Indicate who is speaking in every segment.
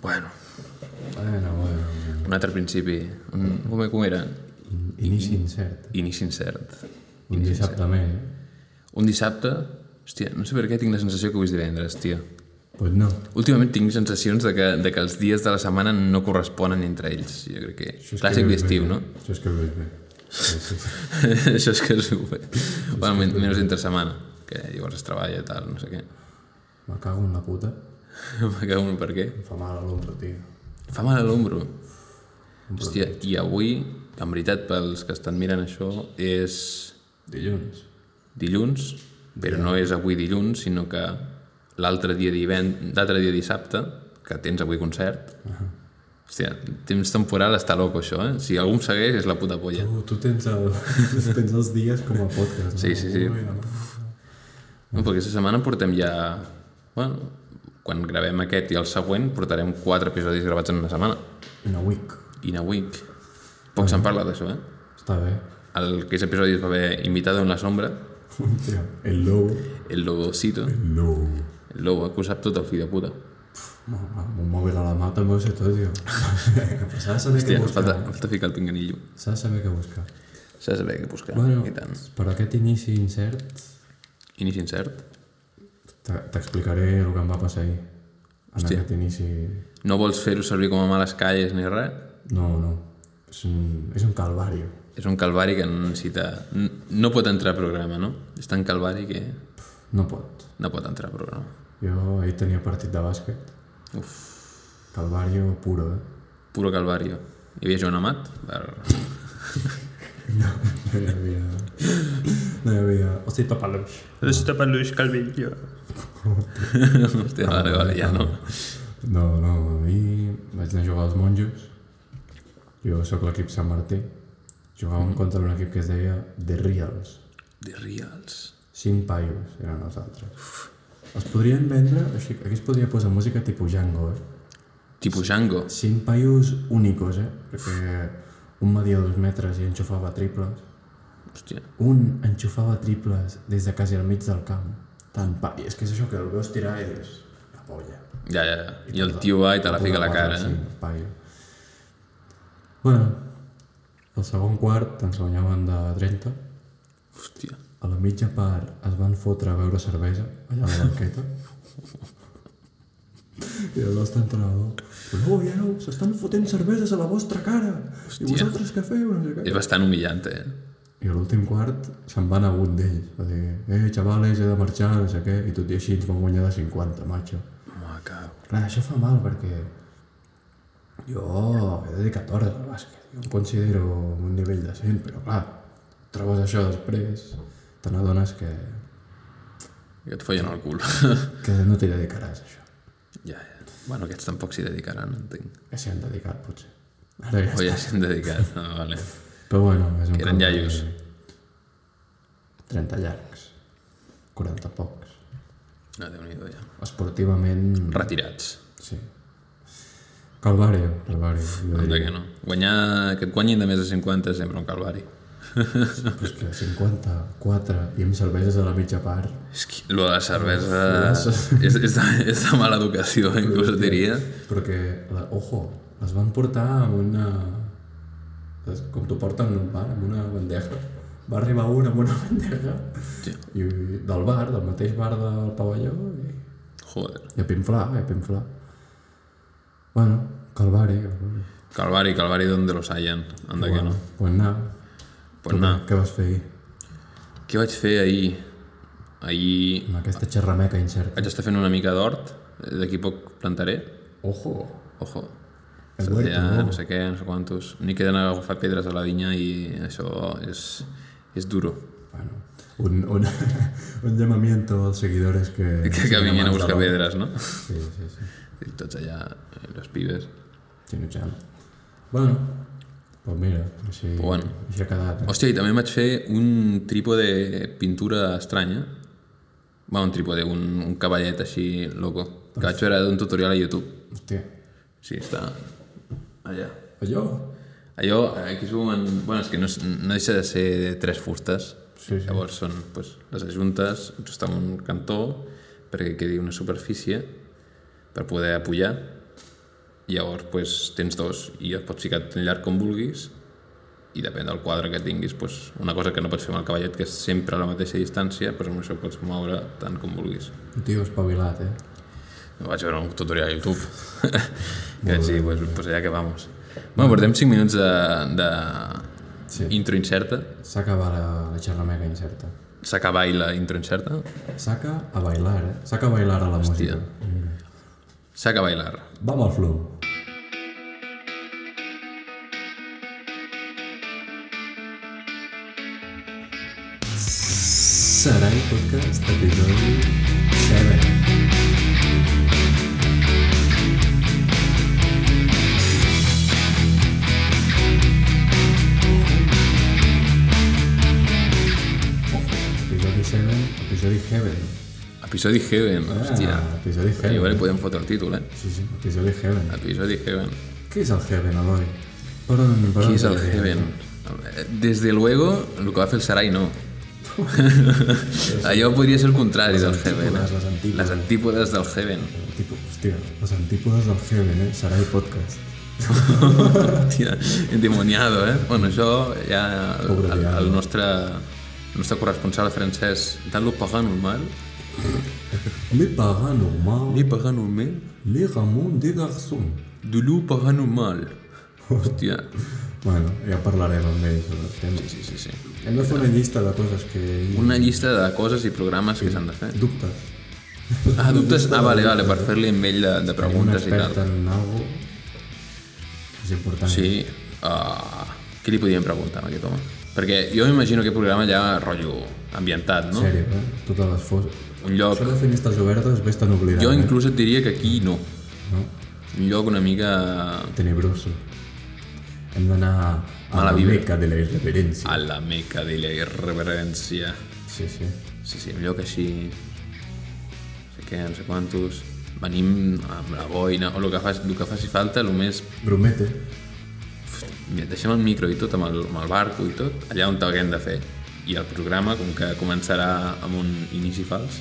Speaker 1: Bueno,
Speaker 2: Bueno, bueno, bueno.
Speaker 1: un altre principi. Un, com, com era?
Speaker 2: In- Mm. Inici incert.
Speaker 1: Inici incert.
Speaker 2: Un dissabte més, eh?
Speaker 1: Un dissabte... Hòstia, no sé per què tinc la sensació que avui és divendres, tio.
Speaker 2: Pues no.
Speaker 1: Últimament tinc sensacions de que, de que els dies de la setmana no corresponen entre ells. Jo crec que...
Speaker 2: Això és que
Speaker 1: Clàssic
Speaker 2: ho veus
Speaker 1: d'estiu,
Speaker 2: bé.
Speaker 1: no?
Speaker 2: Això és que ho veus bé. Sí, sí, sí.
Speaker 1: Això és que és... Bueno, men menys entre setmana, que llavors es treballa i tal, no sé què.
Speaker 2: Me cago en la puta.
Speaker 1: Me cago en per què.
Speaker 2: Em fa mal a l'ombra, tio.
Speaker 1: Fa mal a l'ombro. Hòstia, i avui, que en veritat, pels que estan mirant això, és
Speaker 2: Dilluns.
Speaker 1: dilluns, però no és avui dilluns, sinó que l'altre dia divend... l'altre dia dissabte, que tens avui concert, hòstia, temps temporal està loco això, eh? Si algú em segueix és la puta polla.
Speaker 2: Tu, tu tens, el, tens els dies com a podcast. No?
Speaker 1: Sí, sí, sí.
Speaker 2: Avui, demà.
Speaker 1: No, perquè aquesta setmana portem ja... Bueno, quan gravem aquest i el següent portarem quatre episodis gravats en una setmana.
Speaker 2: In a week.
Speaker 1: In a week. Poc se'n parla d'això, eh?
Speaker 2: Està bé.
Speaker 1: El que és episodi es va haver invitado en la sombra,
Speaker 2: Hòstia, el low.
Speaker 1: el lobocito,
Speaker 2: El low.
Speaker 1: el lobo, que ho sap tot el fill de puta.
Speaker 2: Un mòbil a la mà també ho sé tot, tio. S'ha de saber què
Speaker 1: Hòstia, em
Speaker 2: buscar.
Speaker 1: falta, em falta ficar el pinganillo.
Speaker 2: S'ha de saber què buscar.
Speaker 1: S'ha de saber què buscar,
Speaker 2: Bueno,
Speaker 1: i tant.
Speaker 2: per aquest inici incert,
Speaker 1: Inici incert.
Speaker 2: t'a- t'explicaré el que em va passar ahir. En aquest inici...
Speaker 1: No vols fer-ho servir com a males calles ni res?
Speaker 2: No, no. És un, és un calvari.
Speaker 1: És un calvari que no necessita... n- No pot entrar a programa, no? És tan calvari que
Speaker 2: No pot.
Speaker 1: no pot entrar a programa.
Speaker 2: Jo ahir tenia partit de bàsquet.
Speaker 1: Uf.
Speaker 2: Calvario puro, eh?
Speaker 1: Puro calvario. Hi havia Joan Amat? Per...
Speaker 2: No, no hi havia... No hi havia... Hosti, papalos.
Speaker 3: Necesito para Luis Calvillo.
Speaker 1: Hòstia, vale, vale, ja no.
Speaker 2: No, no, ahir vaig anar a jugar als monjos. Jo sóc l'equip Sant Martí. Jugàvem contra un equip que es deia The Reals.
Speaker 1: De Reals.
Speaker 2: Cinc paios eren els altres. Els podrien vendre, així, aquí es podria posar música tipus Django, eh?
Speaker 1: Tipo Django.
Speaker 2: Cinc paios únicos, eh? Perquè un media dos metres i enxufava triples.
Speaker 1: Hòstia.
Speaker 2: Un enxufava triples des de quasi al mig del camp. Tant paio, és que és això que el veus tirar i dius, la polla.
Speaker 1: Ja, ja, ja. I el tio va i te la fica a la cara,
Speaker 2: Sí,
Speaker 1: eh?
Speaker 2: paio. Bueno, el segon quart ens guanyaven de 30.
Speaker 1: Hòstia.
Speaker 2: A la mitja part es van fotre a beure cervesa allà a la banqueta. I el nostre entrenador... No, ja no, s'estan fotent cerveses a la vostra cara. I vosaltres què feu? No sé què.
Speaker 1: És bastant humillant, eh?
Speaker 2: I a l'últim quart se'n van a un d'ells. Va dir, eh, xavales, he de marxar, no sé què. I tot i així ens van guanyar de 50, macho.
Speaker 1: Me cago.
Speaker 2: Clar, això fa mal perquè jo he dedicat hores al bàsquet. Jo em considero en un nivell decent, però clar, trobes això després, te n'adones que,
Speaker 1: Que et follen el cul.
Speaker 2: que no t'hi dedicaràs, a això.
Speaker 1: ja, ja. Bueno, aquests tampoc s'hi dedicaran, entenc.
Speaker 2: Que s'hi han dedicat, potser. Ara
Speaker 1: O
Speaker 2: ja està.
Speaker 1: ja s'hi han dedicat. Ah, vale.
Speaker 2: Però bueno, és un
Speaker 1: Que eren
Speaker 2: camp de
Speaker 1: iaios.
Speaker 2: 30 llargs, 40 pocs.
Speaker 1: No, déu nhi ja.
Speaker 2: Esportivament,
Speaker 1: Retirats.
Speaker 2: sí. Calvario, Calvario. Jo
Speaker 1: De
Speaker 2: diria.
Speaker 1: que no. Guanyar... Que et guanyin de més de 50 és sempre un calvari.
Speaker 2: Però és que 54 i amb cerveses a la mitja part,
Speaker 1: És que lo de la cervesa... és, és, de, és de mala educació, inclús et diria.
Speaker 2: Perquè, la, ojo, les van portar amb una... saps? Com t'ho porten en un bar, amb una bandeja. Va arribar un amb una bandeja
Speaker 1: Sí.
Speaker 2: i del bar, del mateix bar del pavelló, i,
Speaker 1: Joder.
Speaker 2: i a pinflar, i a pinflar. Bueno, calvari, eh, calvari.
Speaker 1: Calvari, Calvari, donde los hayan. Anda que no.
Speaker 2: Pues anar.
Speaker 1: Pues anar.
Speaker 2: Què vas fer ahir?
Speaker 1: Què vaig fer ahir? Ahir
Speaker 2: Amb aquesta xerrameca incerta.
Speaker 1: vaig estar fent una mica d'hort, eh, d'aquí poc plantaré.
Speaker 2: Ojo!
Speaker 1: Ojo.
Speaker 2: El
Speaker 1: Ja,
Speaker 2: huerto,
Speaker 1: no sé què, no sé quantos. Ni queden a agafar pedres a la vinya i això és, és duro.
Speaker 2: Bueno, un, un, un llamamiento als seguidores que...
Speaker 1: Que, que vinguin a buscar
Speaker 2: Sí,
Speaker 1: pedres, no?
Speaker 2: sí, sí.
Speaker 1: I tots allà, eh, les pibes.
Speaker 2: Xinochan. Bueno, doncs mira, així,
Speaker 1: bueno.
Speaker 2: així ha quedat. Eh?
Speaker 1: Hòstia, i també em vaig fer un tripo de pintura estranya. Va, un tripo de un, un cavallet així loco. Que vaig veure d'un tutorial a YouTube.
Speaker 2: Hòstia.
Speaker 1: Sí, està allà.
Speaker 2: Allò?
Speaker 1: Allò, eh, aquí es veuen... Bueno, és que no, és- no deixa de ser de tres fustes.
Speaker 2: Sí, sí.
Speaker 1: Llavors són pues, les ajuntes just en un cantó perquè quedi una superfície per poder apoyar Llavors, pues, tens dos i et pots ficar tan llarg com vulguis i depèn del quadre que tinguis, pues, una cosa que no pots fer amb el cavallet, que és sempre a la mateixa distància, però amb això pots moure tant com vulguis.
Speaker 2: Un tio espavilat, eh?
Speaker 1: Vaig veure un tutorial a YouTube. I vaig dir, pues, pues allà que vamos. Bueno, portem 5 minuts de, de
Speaker 2: Sí.
Speaker 1: intro incerta.
Speaker 2: S'ha acabat la, la xerrameca incerta.
Speaker 1: S'acaba i la intro incerta.
Speaker 2: Saca a bailar, eh? Saca a bailar a la Hòstia. música.
Speaker 1: Saca a bailar.
Speaker 2: Va amb el flow. Sarai Podcast, episodi 7. Episodi 7, episodi Heaven.
Speaker 1: Episodi Heaven, hòstia.
Speaker 2: Ah, episodi
Speaker 1: Ah, jo
Speaker 2: Heaven.
Speaker 1: li podem fotre el títol, eh?
Speaker 2: Sí, sí, episodi Heaven.
Speaker 1: Episodi Heaven.
Speaker 2: Què és el Heaven, Eloi? Per on, per
Speaker 1: Qui
Speaker 2: on
Speaker 1: és el
Speaker 2: ve?
Speaker 1: Heaven? Desde luego, el que va fer el Sarai no. Allò podria ser el contrari del Heaven. eh?
Speaker 2: les antípodes.
Speaker 1: Les antípodes del Heaven.
Speaker 2: El Tipus, hòstia, les antípodes del Heaven, eh? Serà el podcast.
Speaker 1: Hòstia, endemoniado, eh? Bueno, això ja... El,
Speaker 2: Pobre
Speaker 1: el,
Speaker 2: diable.
Speaker 1: el nostre, el nostre corresponsal francès, tant lo paranormal,
Speaker 2: Le paranormal,
Speaker 1: le paranormal,
Speaker 2: le Ramon de Garçon.
Speaker 1: de lo paranormal. Hòstia.
Speaker 2: Bueno, ja parlarem amb ell sobre el tema.
Speaker 1: Sí, sí, sí.
Speaker 2: Hem de fer una llista de coses que...
Speaker 1: Una llista de coses i programes que s'han de fer.
Speaker 2: Dubtes.
Speaker 1: Ah,
Speaker 2: doncs
Speaker 1: dubtes? Ah, vale, vale, per fer-li amb ell de, de
Speaker 2: Un
Speaker 1: preguntes i tal.
Speaker 2: expert en algo és important.
Speaker 1: Sí. Uh, què li podíem preguntar a aquest home? Perquè jo m'imagino que programa ja rotllo ambientat, no?
Speaker 2: Sèrio, eh? Totes les fos...
Speaker 1: Un lloc...
Speaker 2: Això de finestres obertes ves tan oblidat,
Speaker 1: Jo
Speaker 2: eh?
Speaker 1: inclús et diria que aquí no.
Speaker 2: No?
Speaker 1: Un lloc una mica
Speaker 2: Tenebroso. Hem d'anar a
Speaker 1: Mala
Speaker 2: la
Speaker 1: vibra. Ah.
Speaker 2: meca de la irreverència.
Speaker 1: a la meca de la irreverència.
Speaker 2: Sí, sí.
Speaker 1: Sí, sí, un lloc així... No sé què, no sé quantos... Venim amb la boina, o el que faci, el que faci falta, el més...
Speaker 2: Bromete.
Speaker 1: Mira, deixem el micro i tot, amb el, amb el barco i tot, allà on t'haguem de fer. I el programa, com que començarà amb un inici fals,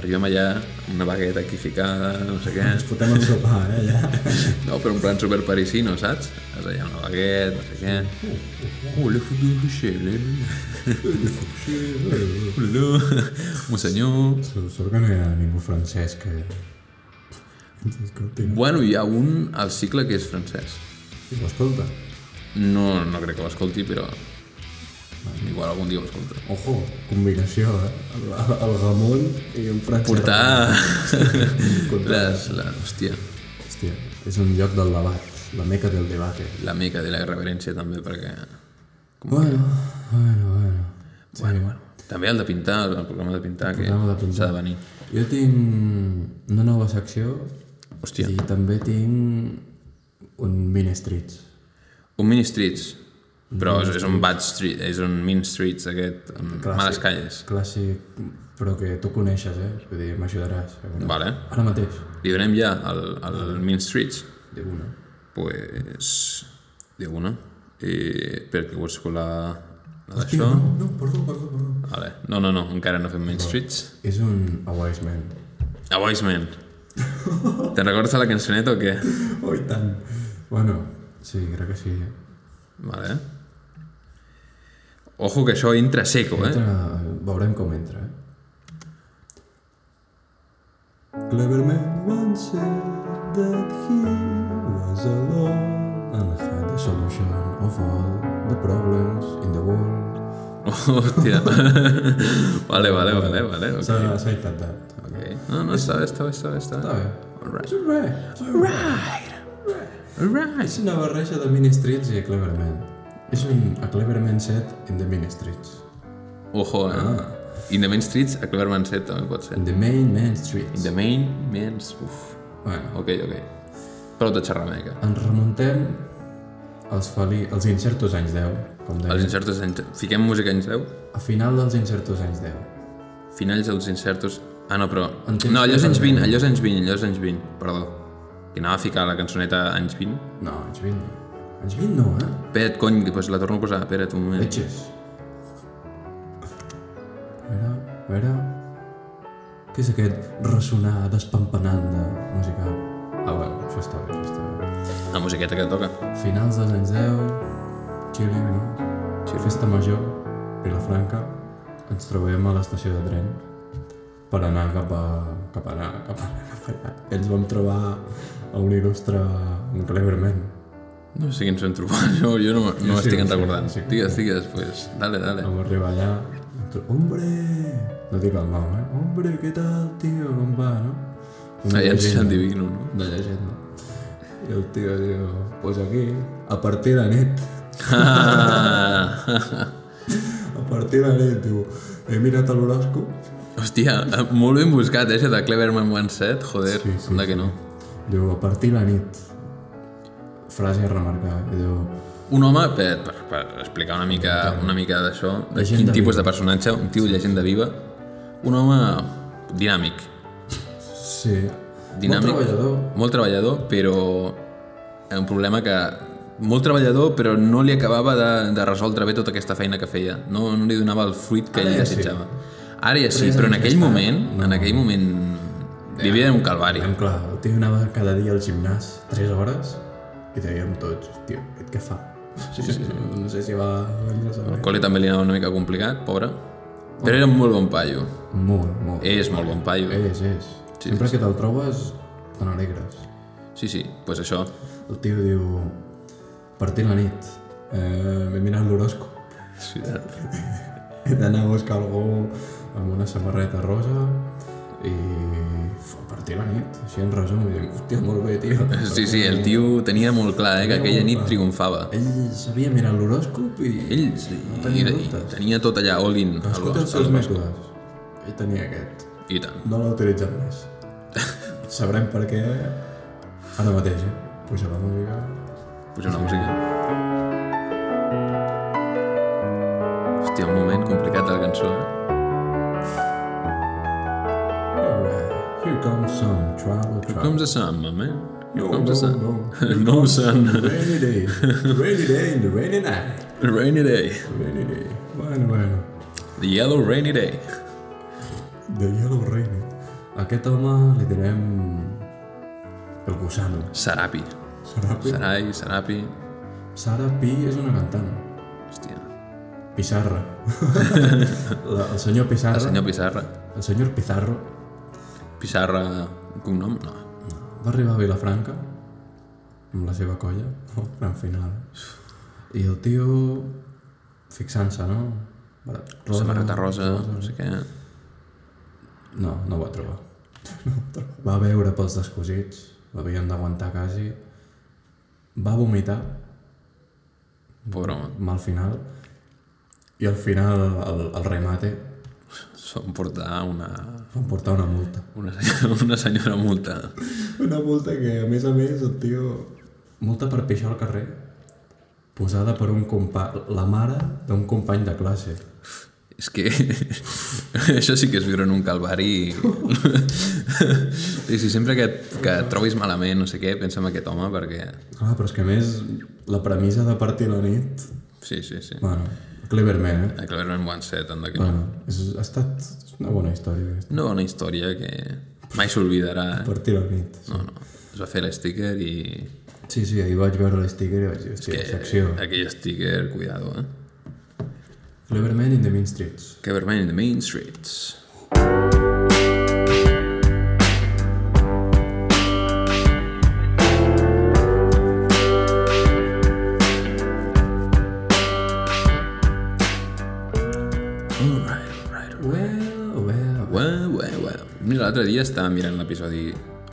Speaker 1: arribem allà amb una bagueta aquí ficada, no sé què...
Speaker 2: Ens fotem el sopar, eh, allà.
Speaker 1: No, però un plan super parisino, saps? És allà una baguet, no sé què... Oh, l'he fotut un xele... Monsenyor...
Speaker 2: Sort sort que no hi ha ningú francès que... ens Escolti, no?
Speaker 1: Bueno, hi ha un al cicle que és francès.
Speaker 2: I l'escolta.
Speaker 1: No, no crec que l'escolti, però... Igual algun dia ho escolta.
Speaker 2: Ojo, combinació, eh? El, el Ramon i un francès.
Speaker 1: Portar...
Speaker 2: Contra-
Speaker 1: Les, la, hòstia,
Speaker 2: Hòstia, és un lloc del debat. La meca del debat, eh?
Speaker 1: la meca de la irreverència també, perquè...
Speaker 2: Bueno, bueno, bueno. Sí. Bueno, bueno.
Speaker 1: També el de pintar, el programa de pintar, que
Speaker 2: Programa de pintar.
Speaker 1: s'ha de venir.
Speaker 2: Jo tinc una nova secció
Speaker 1: Hòstia,
Speaker 2: i també tinc un Mean Streets.
Speaker 1: un mini streets, però és, és un bad street, és un mean streets aquest, amb
Speaker 2: Clàssic.
Speaker 1: males calles.
Speaker 2: Clàssic, però que tu coneixes, eh? Vull dir, m'ajudaràs. segurament.
Speaker 1: Vale.
Speaker 2: Ara mateix.
Speaker 1: Li donem ja al, al mean streets,
Speaker 2: De una.
Speaker 1: pues, de una, eh, perquè busco la, la
Speaker 2: Tio,
Speaker 1: d'això.
Speaker 2: no, no, perdó, perdó, perdó.
Speaker 1: Vale. No, no, no, encara no fem mean streets.
Speaker 2: És un A Wise Man.
Speaker 1: A Voice Man. Te'n recordes de la cançoneta o què?
Speaker 2: Oh, i tant. Bueno, sí, crec que sí.
Speaker 1: Vale. Ojo que això entra seco, eh?
Speaker 2: Entra, veurem com entra, eh? Cleverman once said that he was alone and had the solution of all the problems in the world.
Speaker 1: Hòstia. vale, vale, vale, vale. ok.
Speaker 2: S'ha s'ha intentat.
Speaker 1: Ok. No, no, està bé, està bé, està bé. Està
Speaker 2: Està
Speaker 1: bé.
Speaker 2: bé.
Speaker 1: Alright.
Speaker 2: És res.
Speaker 1: Alright.
Speaker 2: És una barreja de Mean Streets i a Cleverman. És un A Cleverman set in the Mean Streets.
Speaker 1: Ojo, eh? Ah. In the Main Streets, a Clever Manset també pot ser.
Speaker 2: In the main main streets.
Speaker 1: In the Main, Men's... Uf.
Speaker 2: Bueno,
Speaker 1: Ok, ok. Però de xerrameca.
Speaker 2: ens remuntem als, fali... als incertos anys 10, com deia.
Speaker 1: Els incertos... anys- Fiquem música anys 10?
Speaker 2: A final dels incertos anys 10.
Speaker 1: Finals dels incertos... Ah, no, però...
Speaker 2: En temps
Speaker 1: No, allò és anys
Speaker 2: present.
Speaker 1: 20, allò és anys 20, allò és anys 20. Perdó. Que anava a ficar la cançoneta anys 20.
Speaker 2: No, anys 20 no. Anys 20 no, eh?
Speaker 1: Espera't, cony, que pues la torno a posar. Espera't un moment.
Speaker 2: Etxes. A veure, a veure... Què és aquest ressonar despampanant de musical? Ah, bueno, això està bé, això està bé.
Speaker 1: La musiqueta que toca.
Speaker 2: Finals dels anys 10, Xile, no? Festa Major, Vilafranca, ens trobem a l'estació de tren per anar cap a... cap a anar, cap a anar, cap a allà. Ens vam trobar a un il·lustre, un Cleverman.
Speaker 1: No sé quins vam trobar, jo, jo no, no
Speaker 2: sí,
Speaker 1: m'estic en
Speaker 2: sí,
Speaker 1: recordant.
Speaker 2: sí.
Speaker 1: digues, digues, pues, dale, dale.
Speaker 2: Vam arribar allà, ens tro- hombre, no dic el nom, eh? Hombre, què tal, tio, com va, no?
Speaker 1: Ah, ja ens
Speaker 2: llegenda.
Speaker 1: sent divino, no?
Speaker 2: Una llegenda. I el tio diu, pues aquí, a partir de la nit,
Speaker 1: Ah!
Speaker 2: a partir de la nit, diu, he mirat a l'horòscop
Speaker 1: Hòstia, eh, molt ben buscat, eh, això de Cleverman Wanset, joder,
Speaker 2: Sí,
Speaker 1: sí,
Speaker 2: sí,
Speaker 1: sí, que no.
Speaker 2: Diu, a partir de la nit. Frase a remarcar. I diu,
Speaker 1: Un home, per, per, per explicar una mica, una mica d'això, de quin
Speaker 2: Llegenda
Speaker 1: tipus de personatge, un tio llegenda viva, un home dinàmic,
Speaker 2: sí,
Speaker 1: Dinàmic.
Speaker 2: Molt treballador.
Speaker 1: molt treballador, però un problema que molt treballador, però no li acabava de, de resoldre bé tota aquesta feina que feia. No, no li donava el fruit que
Speaker 2: Ara
Speaker 1: ell
Speaker 2: ja sí.
Speaker 1: desitjava. Ara ja sí,
Speaker 2: ja
Speaker 1: però en
Speaker 2: no
Speaker 1: aquell
Speaker 2: està.
Speaker 1: moment, en aquell moment, vivia en un calvari.
Speaker 2: Diguem clar, el tio anava cada dia al gimnàs 3 hores i dèiem tots, tio, aquest què fa? Sí, sí, sí. No sé si va vendre-se bé.
Speaker 1: El col·le també li anava una mica complicat, pobre. Però era un molt bon paio.
Speaker 2: Molt, molt.
Speaker 1: És molt bon paio.
Speaker 2: És, és. Sempre que te'l trobes, te n'alegres.
Speaker 1: Sí, sí, doncs pues això.
Speaker 2: El tio diu, a partir de la nit, eh, m'he mirat l'horòscop.
Speaker 1: Sí,
Speaker 2: He d'anar a buscar algú amb una samarreta rosa i f- a partir de la nit, així en resum, i dic, hòstia, molt bé, tio.
Speaker 1: sí, sí, el tio tenia molt clar eh, que aquella nit triomfava.
Speaker 2: Ell sabia mirar l'horòscop i...
Speaker 1: Ell sí,
Speaker 2: No
Speaker 1: i,
Speaker 2: tenia
Speaker 1: i
Speaker 2: dubtes.
Speaker 1: tenia tot allà, all in.
Speaker 2: Cadascú té els seus mètodes. Ell tenia aquest.
Speaker 1: I tant.
Speaker 2: No l'ha utilitzat més. Sabrem per què ara mateix, eh? Puja la música...
Speaker 1: Puja una música. Hòstia, un moment complicat de la cançó. eh?
Speaker 2: Alright, here comes some trouble, trouble.
Speaker 1: Com se sent, mama?
Speaker 2: No,
Speaker 1: Com se
Speaker 2: no,
Speaker 1: sent?
Speaker 2: no.
Speaker 1: No ho sent.
Speaker 2: Rainy day, rainy day and rainy night.
Speaker 1: Rainy day.
Speaker 2: Rainy day. Bueno, bueno.
Speaker 1: The yellow rainy day.
Speaker 2: De Yellow Rain. Aquest home li direm... El gusano.
Speaker 1: Sarapi.
Speaker 2: Sara Pi.
Speaker 1: Sarai, Sarapi.
Speaker 2: Sara Pi és una cantant.
Speaker 1: Hòstia.
Speaker 2: Pissarra. La, el senyor Pissarra. El senyor...
Speaker 1: Senyor Pissarra.
Speaker 2: el senyor Pizarro
Speaker 1: Pissarra, un cognom? No.
Speaker 2: va arribar a Vilafranca amb la seva colla, el gran final. I el tio, fixant-se, no? Va- Rosa,
Speaker 1: Samarreta rosa, no sé què.
Speaker 2: No, no ho va trobar. No ho va trobar. Va veure pels descosits, l'havien d'aguantar quasi. Va vomitar,
Speaker 1: Pobre home.
Speaker 2: mal final. I al final, el, el remate,
Speaker 1: Són portar una...
Speaker 2: van portar una multa.
Speaker 1: Una, senyora, una senyora multa.
Speaker 2: Una multa que, a més a més, el tio... Multa per pixar al carrer, posada per un compa... la mare d'un company de classe.
Speaker 1: És que això sí que és viure en un calvari. I si sempre que, que et trobis malament, no sé què, pensa en aquest home perquè...
Speaker 2: Clar, Ah, però és que a més, la premissa de partir la nit...
Speaker 1: Sí, sí, sí.
Speaker 2: Bueno, cleverment, eh?
Speaker 1: A Cleverman One Set, en que...
Speaker 2: Bueno, és, ha estat és una bona història, aquesta.
Speaker 1: No, una història que mai s'olvidarà. Eh?
Speaker 2: Partir la nit.
Speaker 1: No, no. Es va fer l'estíquer i...
Speaker 2: Sí, sí, ahir vaig veure l'estíquer i vaig dir, hòstia, secció.
Speaker 1: Aquell estíquer, cuidado, eh?
Speaker 2: Cleverman in the Mean Streets.
Speaker 1: Cleverman in the Main Streets. Alright, alright, alright.
Speaker 2: Well,
Speaker 1: Ué,
Speaker 2: well,
Speaker 1: ué, ué. Mira, l'altre dia estava mirant l'episodi,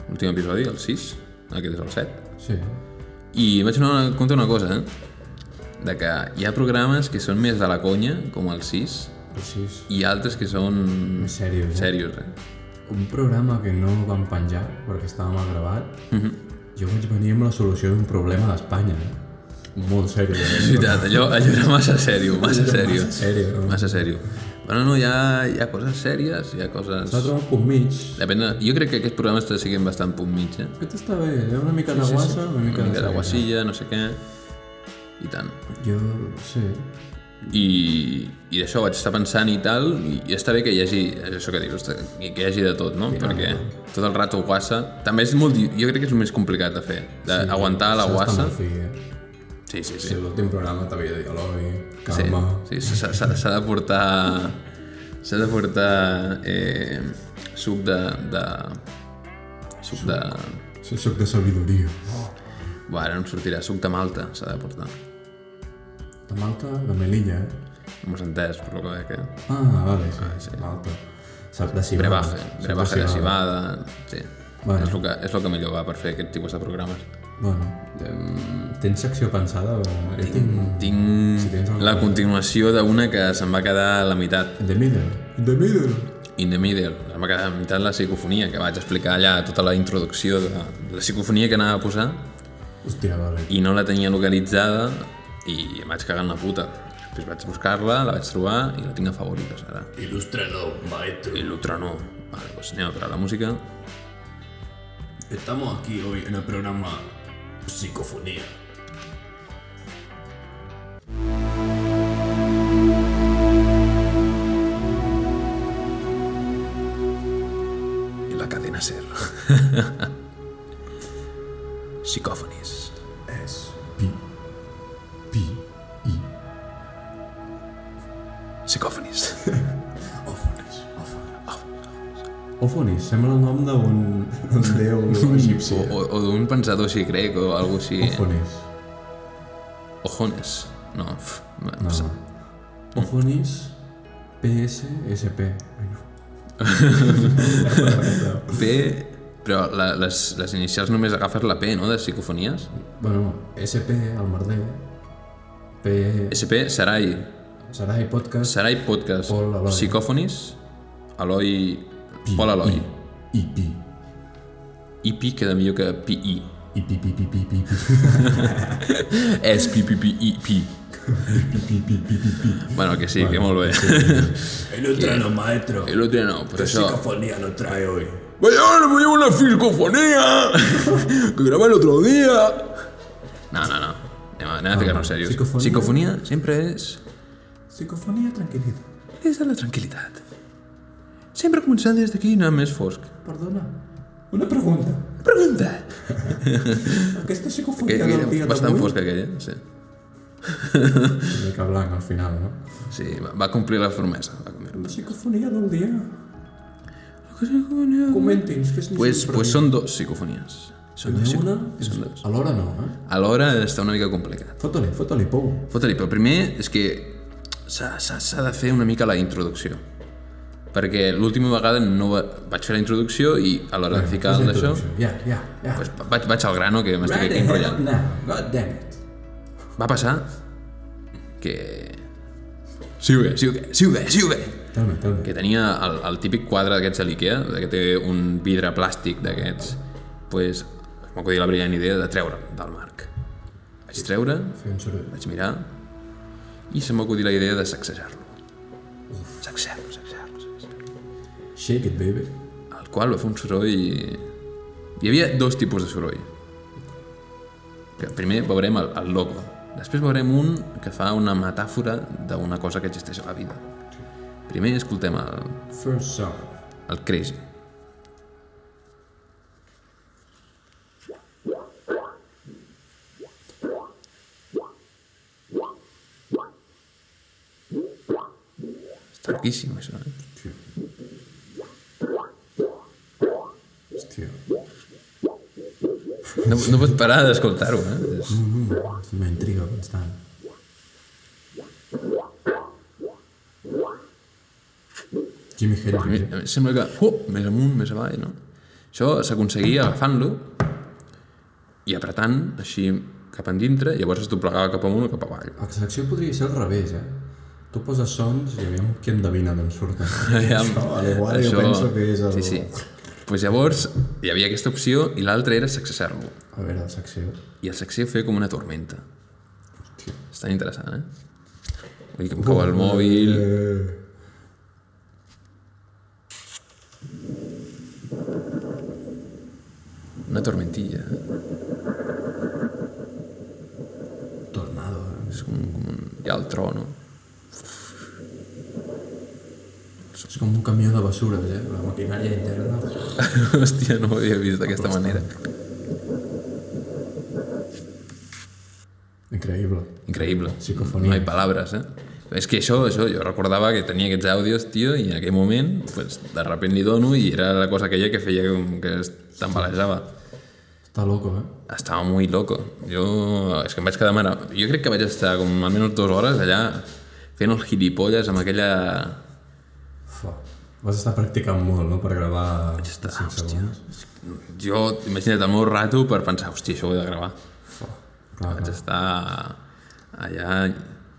Speaker 1: l'últim episodi, el 6, aquest és el 7,
Speaker 2: Sí.
Speaker 1: i em vaig donar compte una cosa, eh? de que hi ha programes que són més de la conya, com el 6,
Speaker 2: Així és.
Speaker 1: i altres que són
Speaker 2: És seriós, eh?
Speaker 1: serios, eh?
Speaker 2: Un programa que no vam penjar perquè estava mal gravat, jo vaig venir amb la solució d'un problema d'Espanya. eh? Molt seriós.
Speaker 1: És veritat, allò, allò era massa serio, massa serio.
Speaker 2: Massa serio.
Speaker 1: Massa serio. Però no, hi ha, hi ha coses sèries, hi ha coses...
Speaker 2: S'ha trobat punt mig.
Speaker 1: Depèn de... Jo crec que aquests programes te siguen bastant punt mig, eh?
Speaker 2: Aquest està bé, hi ha una mica de guassa,
Speaker 1: Una
Speaker 2: una mica de
Speaker 1: mica de
Speaker 2: seriós.
Speaker 1: guasilla, no sé què... I tant.
Speaker 2: Jo, sí.
Speaker 1: I, i d'això vaig estar pensant i tal, i, i està bé que hi hagi, és això que dius, hosta, que hi hagi de tot, no? Perquè tot el rato guassa... També és molt... di- Jo crec que és el més complicat de fer, d'aguantar la
Speaker 2: Això està
Speaker 1: guassa.
Speaker 2: molt fi, eh?
Speaker 1: Sí, sí, sí.
Speaker 2: Sí, l'últim programa t'havia de dialogi,
Speaker 1: Sí,
Speaker 2: calma...
Speaker 1: sí s'ha s'ha- s'ha de portar... S'ha de portar eh, suc de, de... Suc de...
Speaker 2: Sí. Soc de sabidoria. Oh.
Speaker 1: Bé, ara no em sortirà. Suc de malta s'ha de portar.
Speaker 2: De Malta, de Melilla, eh?
Speaker 1: No m'has entès, per lo que veig, eh?
Speaker 2: Ah, vale, sí, ah, sí. eh, Malta. Saps de cibada.
Speaker 1: Brebaje,
Speaker 2: saps
Speaker 1: brebaje de cibada... Sí.
Speaker 2: Bueno.
Speaker 1: És, el que, és el que millor va per fer aquest tipus de programes.
Speaker 2: Bueno, em, tens secció pensada? O... Jo tinc...
Speaker 1: Tinc
Speaker 2: Si tens alguna
Speaker 1: la continuació d'una que se'm va quedar a la meitat.
Speaker 2: In the middle. In the middle.
Speaker 1: In the middle. Se'm va quedar a la meitat la psicofonia, que vaig explicar allà tota la introducció de, de la psicofonia que anava a posar
Speaker 2: Hòstia, vale.
Speaker 1: i no la tenia localitzada i em vaig cagar en la puta. Després vaig buscar-la, la vaig trobar i la tinc a favorites ara.
Speaker 4: Ilústranos, maestro.
Speaker 1: I l'altra no. Vale, doncs anem a parar la música.
Speaker 4: Estamos aquí hoy en el programa Psicofonía.
Speaker 1: I la cadena ser. Psicòfonis.
Speaker 2: És... Pi. Pi. I.
Speaker 1: Psicòfonis.
Speaker 4: Ófones, ófones.
Speaker 2: Ofonis, sembla el nom d'un d'un déu egipci.
Speaker 1: O, o, o d'un pensador així grec o alguna així.
Speaker 2: Ofonis.
Speaker 1: Ojones. No, pf, no.
Speaker 2: No. Ofonis PSSP.
Speaker 1: P... Però la, les, les inicials només agafes la P, no?, de psicofonies.
Speaker 2: Bueno, SP, el merder. P...
Speaker 1: SP, Sarai.
Speaker 2: Sarai Podcast.
Speaker 1: Sarai Podcast.
Speaker 2: Pol Eloi.
Speaker 1: Psicòfonis. Eloi... Pol Eloi.
Speaker 2: I pi.
Speaker 1: IP queda millor que PI.
Speaker 2: I pi pi pi pi pi pi
Speaker 1: És PPPIP.
Speaker 2: pi pi pi pi pi pi.
Speaker 1: Bueno, que sí, que molt bé.
Speaker 4: Ilústranos, maestro.
Speaker 1: El otro no, pues
Speaker 4: ¿Qué
Speaker 1: això...
Speaker 4: psicofonía nos trae hoy?
Speaker 1: Vaya, ahora voy a una psicofonía que grabé el otro día. No, no, no. Anem a, anem
Speaker 2: Ah,
Speaker 1: a ficar-nos serios.
Speaker 2: psicofonia-
Speaker 1: psicofonia sempre és
Speaker 2: Psicofonia tranquil·lita.
Speaker 1: Des de la tranquil·litat. Sempre començant des d'aquí i anant més fosc.
Speaker 2: Perdona, una pregunta.
Speaker 1: Pregunta!
Speaker 2: Aquesta
Speaker 1: Que,
Speaker 2: psicofonia del
Speaker 1: que,
Speaker 2: dia
Speaker 1: bastant
Speaker 2: d'avui...
Speaker 1: fosca aquella, sí.
Speaker 2: Una mica blanc al final, no?
Speaker 1: Sí, va, va complir la promesa. Va complir.
Speaker 2: La psicofonia del dia. Comenti'ns, fes-nos un
Speaker 1: Pues,
Speaker 2: premi.
Speaker 1: pues són dos psicofonies. Són dos
Speaker 2: Primer una,
Speaker 1: psicofonies. Són dos.
Speaker 2: alhora no, eh?
Speaker 1: Alhora està una mica complicat.
Speaker 2: Fota-li, fota-li, pou.
Speaker 1: Fota-li, però primer és que s'ha s'ha- s'ha de fer una mica la introducció. Perquè l'última vegada no va, vaig fer la introducció i a l'hora de ficar
Speaker 2: Fes la
Speaker 1: d'això...
Speaker 2: introducció. Ja, ja, ja.
Speaker 1: Pues, vaig, vaig al grano que m'estic aquí
Speaker 2: Right
Speaker 1: enrotllant.
Speaker 2: ahead now, god damn it.
Speaker 1: Va passar que... Sí, ho ve, sí, ho ve, sí, ho ve, sí, ho ve.
Speaker 2: Tell me, tell me.
Speaker 1: Que tenia el, el típic quadre d'aquests de l'IKEA, de que té un vidre plàstic d'aquests, doncs pues, m'ha acudit la brillant idea de treure del marc. Vaig treure,
Speaker 2: Fer un soroll.
Speaker 1: vaig mirar, i se m'ha acudit la idea de sacsejar-lo. Sacsejar-lo, sacsejar-lo, sacsejar-lo.
Speaker 2: Shake it, baby.
Speaker 1: El qual va fer un soroll... Hi havia dos tipus de soroll. Que primer veurem el, el logo. Després veurem un que fa una metàfora d'una cosa que existeix a la vida. Primer escoltem el,
Speaker 2: First song.
Speaker 1: el Crazy. Està Loquíssim, això, eh?
Speaker 2: Tio. Hòstia.
Speaker 1: No, no pots parar d'escoltar-ho, eh? És...
Speaker 2: Mm-hmm. M'intriga constant. Jimi Hendrix. eh?
Speaker 1: A mi Sembla que, uh, més amunt, més avall, no? Això s'aconseguia agafant-lo i apretant així cap endintre, llavors es doblegava cap amunt o cap avall.
Speaker 2: La secció podria ser al revés, eh? Tu poses sons i aviam qui endevina d'on surten. això, a l'igual jo penso que és el...
Speaker 1: Sí, sí. Pues llavors hi havia aquesta opció i l'altra era sacsejant-lo.
Speaker 2: A veure, la secció...
Speaker 1: I el sacsejo feia com una tormenta.
Speaker 2: Hòstia.
Speaker 1: Estan interessant, eh? Vull dir que em cau el mòbil...
Speaker 2: Eh...
Speaker 1: Una tormentilla. eh?
Speaker 2: Tornado, eh?
Speaker 1: És com, com un... Hi ha el tro, no?
Speaker 2: un camió de bessures, eh? La maquinària interna.
Speaker 1: Hòstia, no ho havia vist d'aquesta manera.
Speaker 2: Increïble.
Speaker 1: Increïble.
Speaker 2: Psicofonia.
Speaker 1: No hi ha paraules, eh? És que això, això, jo recordava que tenia aquests àudios, tio, i en aquell moment, pues, de repente li dono i era la cosa aquella que feia com que es tambalejava.
Speaker 2: Està loco, eh?
Speaker 1: Estava muy loco. Jo, és que em vaig quedar mare... Jo crec que vaig estar com almenys dues hores allà fent els gilipolles amb aquella...
Speaker 2: Fa. Vas estar practicant molt, no?, per gravar
Speaker 1: estar,
Speaker 2: 5
Speaker 1: hòstia.
Speaker 2: segons.
Speaker 1: Jo, imagina't el meu rato per pensar, hòstia, això ho he de gravar.
Speaker 2: Fa. Clar,
Speaker 1: Vaig estar allà,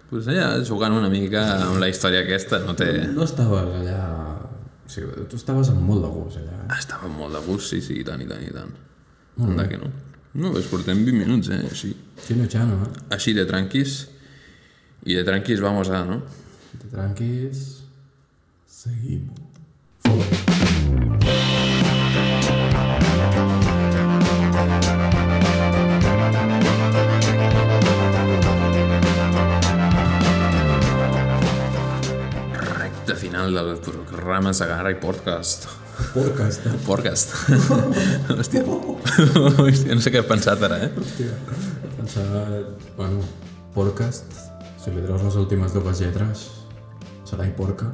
Speaker 1: pues allà jugant una mica amb la història aquesta, no té...
Speaker 2: No estaves allà... O sigui, tu estaves amb molt de gust allà, eh?
Speaker 1: Estava molt de gust, sí, sí, i tant, i tant, i tant. Anda que no. No, ves, portem 20 minuts, eh, així.
Speaker 2: Xino Chano, eh?
Speaker 1: Així de tranquis. I de tranquis vamos a, no?
Speaker 2: Te tranquis... Seguim.
Speaker 1: Recte final del programa Segarra i Podcast.
Speaker 2: Podcast, eh?
Speaker 1: Podcast. Hòstia. Hòstia, no sé què he pensat ara, eh?
Speaker 2: Hòstia. Pensava... Doncs, eh, Bueno, podcast... Si li treus les últimes dues lletres, serà i porca.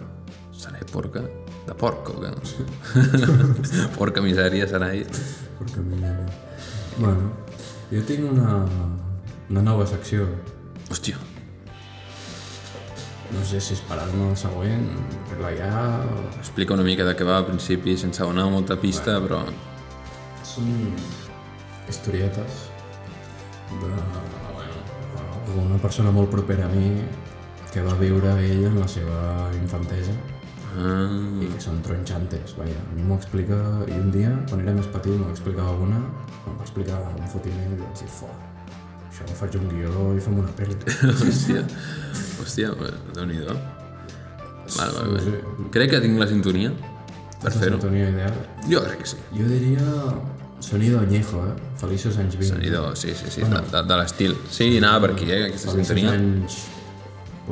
Speaker 1: Sarai porca? De porc, o què? porca misèria, Sarai.
Speaker 2: Porca millor. eh, Bueno, jo tinc una, una nova secció.
Speaker 1: Hòstia.
Speaker 2: No sé si esperar-me el següent, fer-la ja... O...
Speaker 1: Explica una mica de què va al principi, sense donar molta pista, però...
Speaker 2: Són historietes de bueno, d'una persona molt propera a mi que va viure ella en la seva infantesa
Speaker 1: Ah,
Speaker 2: i que són tronxantes, vaja. A mi m'ho explica, i un dia, quan era més petit, m'ho explicava una, em va explicar un fotiner i vaig dir, fo, això ho faig un guió i fem una pel·li.
Speaker 1: hòstia. Hòstia, pues, déu-n'hi-do. Vale, vale,
Speaker 2: Sí,
Speaker 1: vale. Crec que tinc la sintonia per
Speaker 2: sí.
Speaker 1: fer-ho.
Speaker 2: Sintonia ideal.
Speaker 1: Jo crec que sí.
Speaker 2: Jo diria sonido añejo, eh? Feliços anys 20.
Speaker 1: Sonido, sí, sí, sí, de, de, de l'estil. Sí, anava per aquí, eh, aquesta
Speaker 2: Feliços
Speaker 1: sintonia.
Speaker 2: anys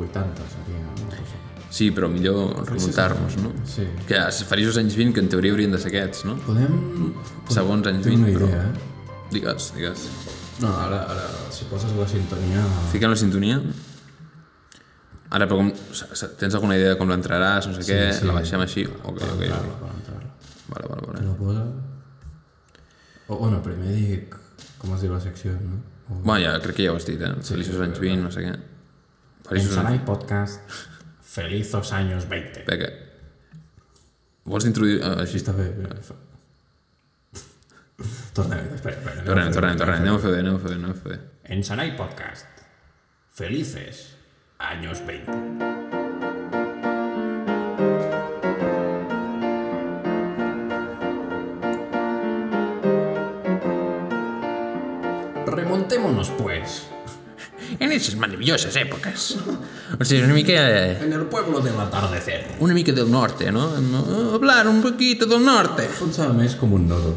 Speaker 2: 80, seria una cosa.
Speaker 1: Sí, però millor remuntar-nos, no?
Speaker 2: Sí.
Speaker 1: Que es faria els anys 20, que en teoria haurien de ser aquests, no?
Speaker 2: Podem...
Speaker 1: Segons anys
Speaker 2: Tinc
Speaker 1: 20,
Speaker 2: una
Speaker 1: però...
Speaker 2: idea, eh?
Speaker 1: Digues, digues.
Speaker 2: No, ara, ara, si poses la sintonia...
Speaker 1: Fiquem la sintonia. Ara, però com... s- s- Tens alguna idea de com l'entraràs, no sé què?
Speaker 2: sí.
Speaker 1: La baixem així? Ok, ok.
Speaker 2: Entrar-la, per entrar-la.
Speaker 1: Vale, vale, vale.
Speaker 2: La posa... O, bueno, primer dic com es diu la secció, no? O...
Speaker 1: Bueno, ja, crec que ja ho has dit, eh? Feliços anys 20, no sé què. Feliços anys...
Speaker 2: Pensarai podcast Felizos años 20.
Speaker 1: Espera, que... Vols introduir... eh, Així està.
Speaker 2: Està bé. bé. Fa- Tornem, espera, espera.
Speaker 1: Tornem, tornem, tornem. Anem a fer bé, anem a fer bé, anem a fer bé.
Speaker 4: En Sarai Podcast. Felices años 20.
Speaker 2: Remontémonos, pues.
Speaker 1: En aquestes meravelloses èpoques. O sigui, una mica... eh,
Speaker 2: En el pueblo del atardecer.
Speaker 1: una mica del norte, no? Eh, Hablar un poquito del norte.
Speaker 2: Pensava més com un nodo.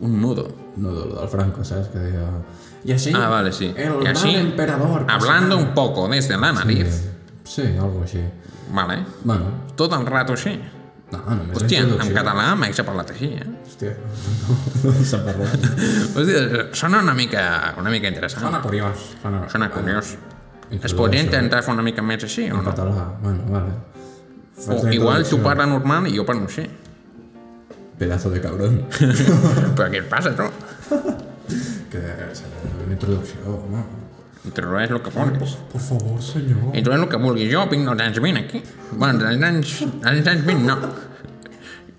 Speaker 1: Un nudo.
Speaker 2: No, de lo del Franco, ¿sabes? Que diga... Y así...
Speaker 1: Ah, vale, sí.
Speaker 2: El
Speaker 1: Y así,
Speaker 2: mal emperador... pues,
Speaker 1: Hablando un poco desde la nariz.
Speaker 2: Sí, algo així.
Speaker 1: Vale.
Speaker 2: Bueno,
Speaker 1: Tot el rato així.
Speaker 2: no, només...
Speaker 1: Hòstia,
Speaker 2: la
Speaker 1: en
Speaker 2: introducció.
Speaker 1: català m'haig parlat així, eh?
Speaker 2: Hòstia, no, no s'ha parlat.
Speaker 1: Hòstia, sona una mica, una mica interessant.
Speaker 2: Sona curiós. Sona,
Speaker 1: Sona curiós. Es
Speaker 2: Introdueixo.
Speaker 1: podria intentar fer una mica més així, o
Speaker 2: En
Speaker 1: no?
Speaker 2: català, bueno, vale. Fas
Speaker 1: O
Speaker 2: la
Speaker 1: igual tu
Speaker 2: introducció.
Speaker 1: parla normal i jo parlo així.
Speaker 2: Pedazo de cabrón.
Speaker 1: Però què et passa, tu?
Speaker 2: que s'ha de fer una introducció, home.
Speaker 1: Introdueix el que vulguis.
Speaker 2: Por favor, senyor.
Speaker 1: Introdueix el que vulguis. Jo vinc dels anys 20 aquí. Bueno, dels anys, dels anys 20 no.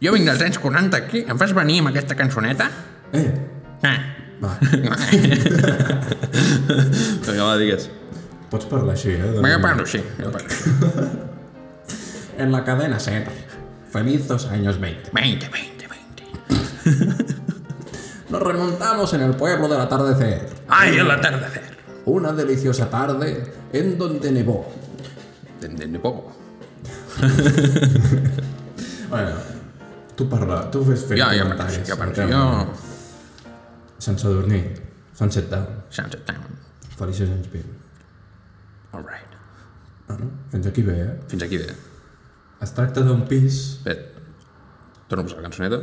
Speaker 1: Jo vinc dels anys 40 aquí. Em fas venir amb aquesta cançoneta?
Speaker 2: Eh,
Speaker 1: Eh.
Speaker 2: va,
Speaker 1: Vinga, va, digues.
Speaker 2: pots parlar així, eh? de-
Speaker 1: Jo parlo així. Jo parlo així.
Speaker 2: En la cadena SER. Felizos años 20.
Speaker 1: 20, 20, 20.
Speaker 2: Nos remontamos en el pueblo del atardecer.
Speaker 1: Ai, el atardecer.
Speaker 2: Una deliciosa tarde en donde nevó.
Speaker 1: Tendent de poco.
Speaker 2: Bueno, tu parla, tu fes fer
Speaker 1: Jo, jo parlo així,
Speaker 2: comentaris.
Speaker 1: jo parlo així.
Speaker 2: perquè,
Speaker 1: Jo...
Speaker 2: Sense dormir. Sunset Down.
Speaker 1: Sunset Town.
Speaker 2: Feliços anys 20.
Speaker 1: All right.
Speaker 2: Bueno, Ah, fins aquí bé, eh?
Speaker 1: Fins aquí bé.
Speaker 2: A Es tracta d'un pis...
Speaker 1: Espera, torno a posar la cançoneta.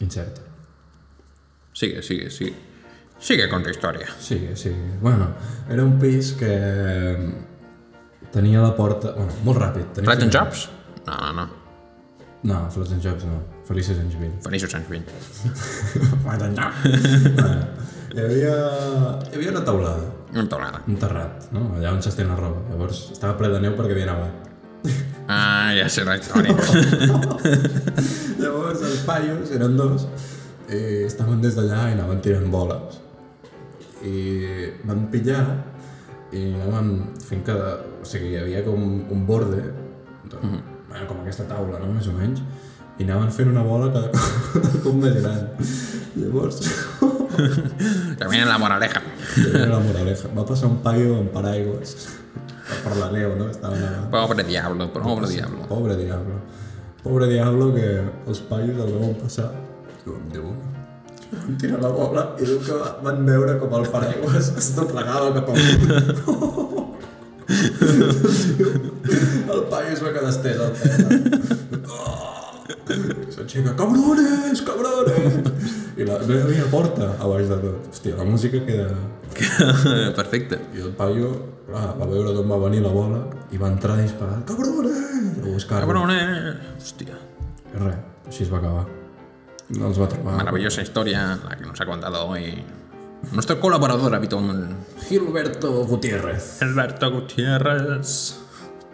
Speaker 2: Incerta.
Speaker 1: Sigue, sigue, sigue. Sigue con tu història.
Speaker 2: Sí, sí. Bueno, era un pis que mm, tenia la porta... Bueno, molt ràpid. Tenia
Speaker 1: Flight and Jobs? No, no, no.
Speaker 2: No, Flats and Jobs no. Feliços anys 20.
Speaker 1: Feliços anys 20.
Speaker 2: Bueno, hi havia... Hi havia una taulada,
Speaker 1: No tornada.
Speaker 2: un terrat, no? Allà on s'estén la roba. Llavors, estava ple de neu perquè havia nevat.
Speaker 1: Ah, ja sé la història.
Speaker 2: Llavors, els paios, eren dos, i estaven des d'allà i anaven tirant boles. I van pillar i anaven fent que... O sigui, hi havia com un borde, de, mm bueno, com aquesta taula, no? Més o menys. I anaven fent una bola cada cop, cada cop més gran. Llavors,
Speaker 1: Caminen la moraleja.
Speaker 2: Era la moraleja. Va passar un paio en paraigües per la neu, no? Estava nevant.
Speaker 1: Pobre diablo, pobre diablo.
Speaker 2: Pobre diablo. Pobre diablo que els paios el veuen passar. Diuen, de bona. Van tirar la bola i diu que van veure com el paraigües es doblegava cap amunt. el paio es va quedar estès al terra. S'aixeca, cabrones, cabrones! I la, no hi havia porta a baix de tot. Hòstia, la música queda...
Speaker 1: Perfecte.
Speaker 2: I el paio, clar, va veure d'on va venir la bola i va entrar disparant, cabrones! A buscar-lo.
Speaker 1: Cabrones. Hòstia.
Speaker 2: I res, així es va acabar. No els va trobar.
Speaker 1: Maravillosa historia la que nos ha contado hoy nuestro colaborador habitual.
Speaker 2: Gilberto Gutiérrez.
Speaker 3: Alberto Gutiérrez.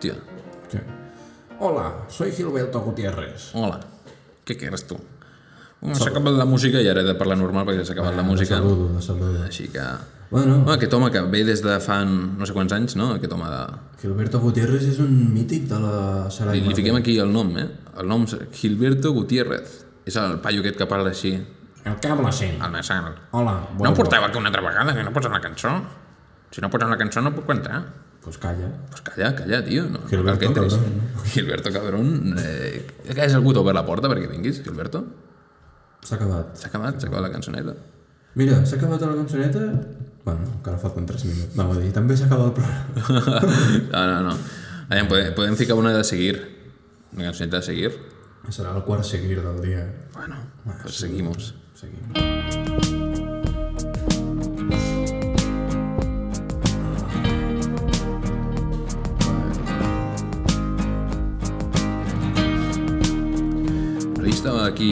Speaker 1: Tío,
Speaker 2: Sí. Hola, soy Gilberto Gutiérrez.
Speaker 1: hola. ¿Qué quieres tú? Bueno, s'ha acabat la música i ara he de parlar normal perquè s'ha
Speaker 3: Ah,
Speaker 1: acabat la música.
Speaker 2: De saludo, de saludo.
Speaker 1: Així que...
Speaker 2: Bueno,
Speaker 1: Bueno, aquest home que ve des de fa no sé quants anys, no? Aquest home de...
Speaker 2: Gilberto Gutiérrez és un mític de la Sara
Speaker 1: Li, li fiquem aquí el nom, eh? El nom és Gilberto Gutiérrez. És el paio aquest que parla així,
Speaker 4: El que habla sent.
Speaker 1: al nasal.
Speaker 2: Hola,
Speaker 1: Ah. No
Speaker 2: bueno,
Speaker 1: em portava aquí una altra vegada, que no posen la cançó. Si no posen la cançó no puc cantar.
Speaker 2: pues calla.
Speaker 1: Pues calla, calla, tio. No,
Speaker 2: Gilberto
Speaker 1: no cal que entris.
Speaker 2: Cabrón,
Speaker 1: Gilberto Cabrón. Eh, que és algú t'obert la porta perquè vinguis, Gilberto?
Speaker 2: S'ha acabat.
Speaker 1: S'ha acabat, s'ha acabat la cançoneta.
Speaker 2: Mira, s'ha acabat la cançoneta? Bueno, encara falten 3 minuts. Anava a dir, també s'ha acabat el programa.
Speaker 1: no, no, no. Allà, podem, podem ficar una de seguir. Una cançoneta de seguir.
Speaker 2: Serà el quart seguir del dia. Ah,
Speaker 1: Bueno, pues seguimos.
Speaker 2: Seguim.
Speaker 1: Però ahir estava aquí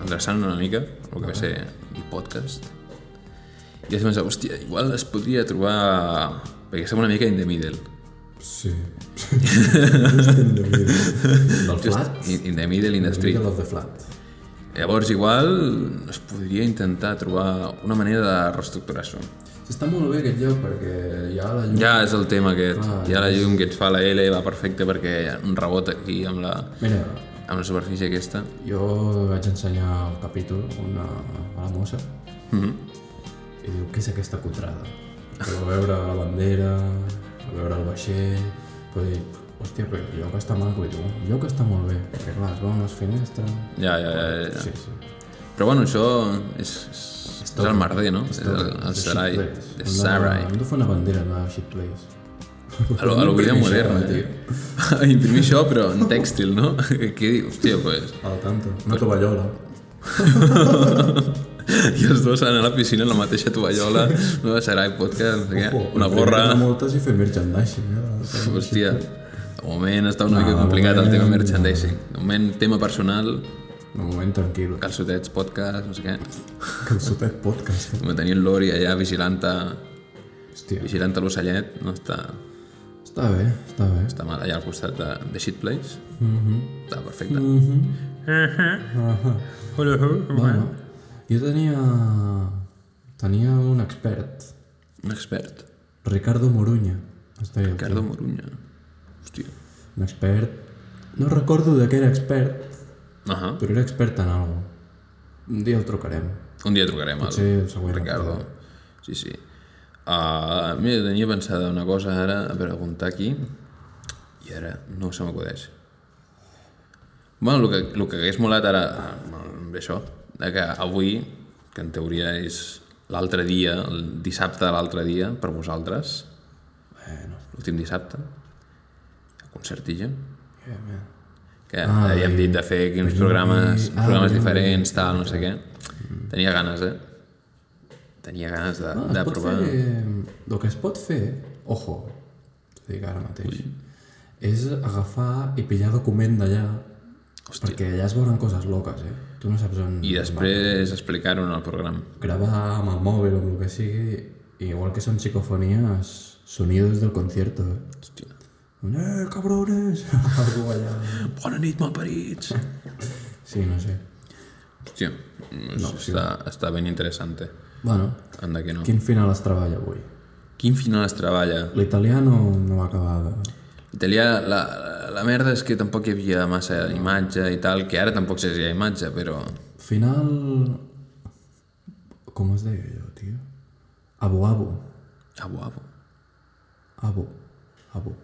Speaker 1: endreçant una mica el que va ser el podcast i vaig pensar, hòstia, igual es podria trobar... Perquè som una mica in the middle.
Speaker 2: Sí. del flat?
Speaker 1: Just in, in the middle, in the street.
Speaker 2: Middle of the flat.
Speaker 1: Llavors, igual, es podria intentar trobar una manera de reestructurar-s'ho.
Speaker 2: Està molt bé aquest lloc perquè hi ha la llum.
Speaker 1: Ja és el tema aquest. Ah, Ja la llum que ens fa la L va perfecte perquè hi ha un rebot aquí amb la,
Speaker 2: Mira,
Speaker 1: amb la superfície aquesta.
Speaker 2: jo vaig ensenyar el capítol una, a la mossa
Speaker 1: Mm -hmm.
Speaker 2: i diu, què és aquesta cutrada? Perquè va veure la bandera, va veure el vaixell, però dir, hòstia, però el lloc està maco i diu, el lloc està molt bé, perquè clar, es veuen les finestres...
Speaker 1: Ja, ja, ja, ja.
Speaker 2: Sí, sí.
Speaker 1: Però bueno, això és, és, és el merder, no? És el, el
Speaker 2: The
Speaker 1: Sarai.
Speaker 2: Shit Place.
Speaker 1: El
Speaker 2: Hem de-
Speaker 1: Sarai.
Speaker 2: Hem de fer una bandera de Shit Place.
Speaker 1: A lo, a lo vida
Speaker 2: Imprimir eh.
Speaker 1: moderna,
Speaker 2: això,
Speaker 1: tio. Imprimir això, però en tèxtil, no? Què dius? Hòstia, pues...
Speaker 2: Al tanto. Una tovallola.
Speaker 1: I els dos anant a la piscina en la mateixa tovallola, no? Sarai podcast, no sé què,
Speaker 2: Ojo,
Speaker 1: una
Speaker 2: imprimir-ne
Speaker 1: gorra...
Speaker 2: Moltes i fer merchandising. Eh?
Speaker 1: Hòstia, de moment està una mica
Speaker 2: de
Speaker 1: complicat el
Speaker 2: moment-
Speaker 1: tema merchandising. De moment, tema personal,
Speaker 2: Un moment tranquil.
Speaker 1: calçotets, podcast, no sé què.
Speaker 2: Calçotet podcast. eh?
Speaker 1: Me tenia el Lori allà vigilanta,
Speaker 2: Hòstia,
Speaker 1: vigilanta l'ocellet, no està,
Speaker 2: està bé, està bé.
Speaker 1: està mal allà al costat de, de Shit Place.
Speaker 2: Mm-hmm.
Speaker 1: Està perfecte.
Speaker 3: Hola,
Speaker 2: Bueno, jo tenia... Tenia un expert,
Speaker 1: Un expert,
Speaker 2: Ricardo Moruña. Es deia.
Speaker 1: Ricardo Moruña. Hòstia.
Speaker 2: Un expert... No recordo de què era expert,
Speaker 1: Ahà.
Speaker 2: però era expert en alguna Un dia el trucarem.
Speaker 1: Un dia trucarem al
Speaker 2: Sí, el següent.
Speaker 1: Ricardo. Sí, sí. Uh, mira, tenia pensada una cosa ara a preguntar aquí i ara no se m'acudeix. Bueno, el que, el que hagués molat ara amb això, de que avui, que en teoria és l'altre dia, el dissabte de l'altre dia, per vosaltres,
Speaker 2: Bueno,
Speaker 1: l'últim dissabte, a concertilla,
Speaker 2: yeah, man.
Speaker 1: que
Speaker 2: Ah,
Speaker 1: ah, havíem
Speaker 2: bé.
Speaker 1: dit de fer aquí uns
Speaker 2: Bé,
Speaker 1: programes, uns
Speaker 2: bé. Ah,
Speaker 1: programes
Speaker 2: bé, bé.
Speaker 1: diferents, tal, no sé què. Tenia ganes, eh? Tenia ganes de,
Speaker 2: No,
Speaker 1: de
Speaker 2: Ah, es pot
Speaker 1: provar.
Speaker 2: fer... eh, El que es pot fer, ojo, t'ho dic ara mateix, és agafar i pillar document d'allà, perquè allà es veuen coses loques, eh? Tu no saps on...
Speaker 1: I després explicar-ho en el programa.
Speaker 2: Gravar amb el mòbil o amb el que sigui, i igual que són psicofonies, sonidos del concierto, eh?
Speaker 1: Hòstia.
Speaker 2: Un, Eh, cabrones! Algú allà...
Speaker 1: Bona nit, malparits!
Speaker 2: Sí, no sé.
Speaker 1: Hòstia, no, està, està ben interessante.
Speaker 2: Bueno,
Speaker 1: Anda que no. Quin,
Speaker 2: quin final es treballa avui?
Speaker 1: Quin final es treballa?
Speaker 2: L'italiano no va acabar de...
Speaker 1: Italià, la, la merda és que tampoc hi havia massa imatge i tal, que ara tampoc sé si hi ha imatge, però...
Speaker 2: Final... Com es deia allò, tio? Abo, abo.
Speaker 1: Ah, guapo.
Speaker 2: Abo. Abo.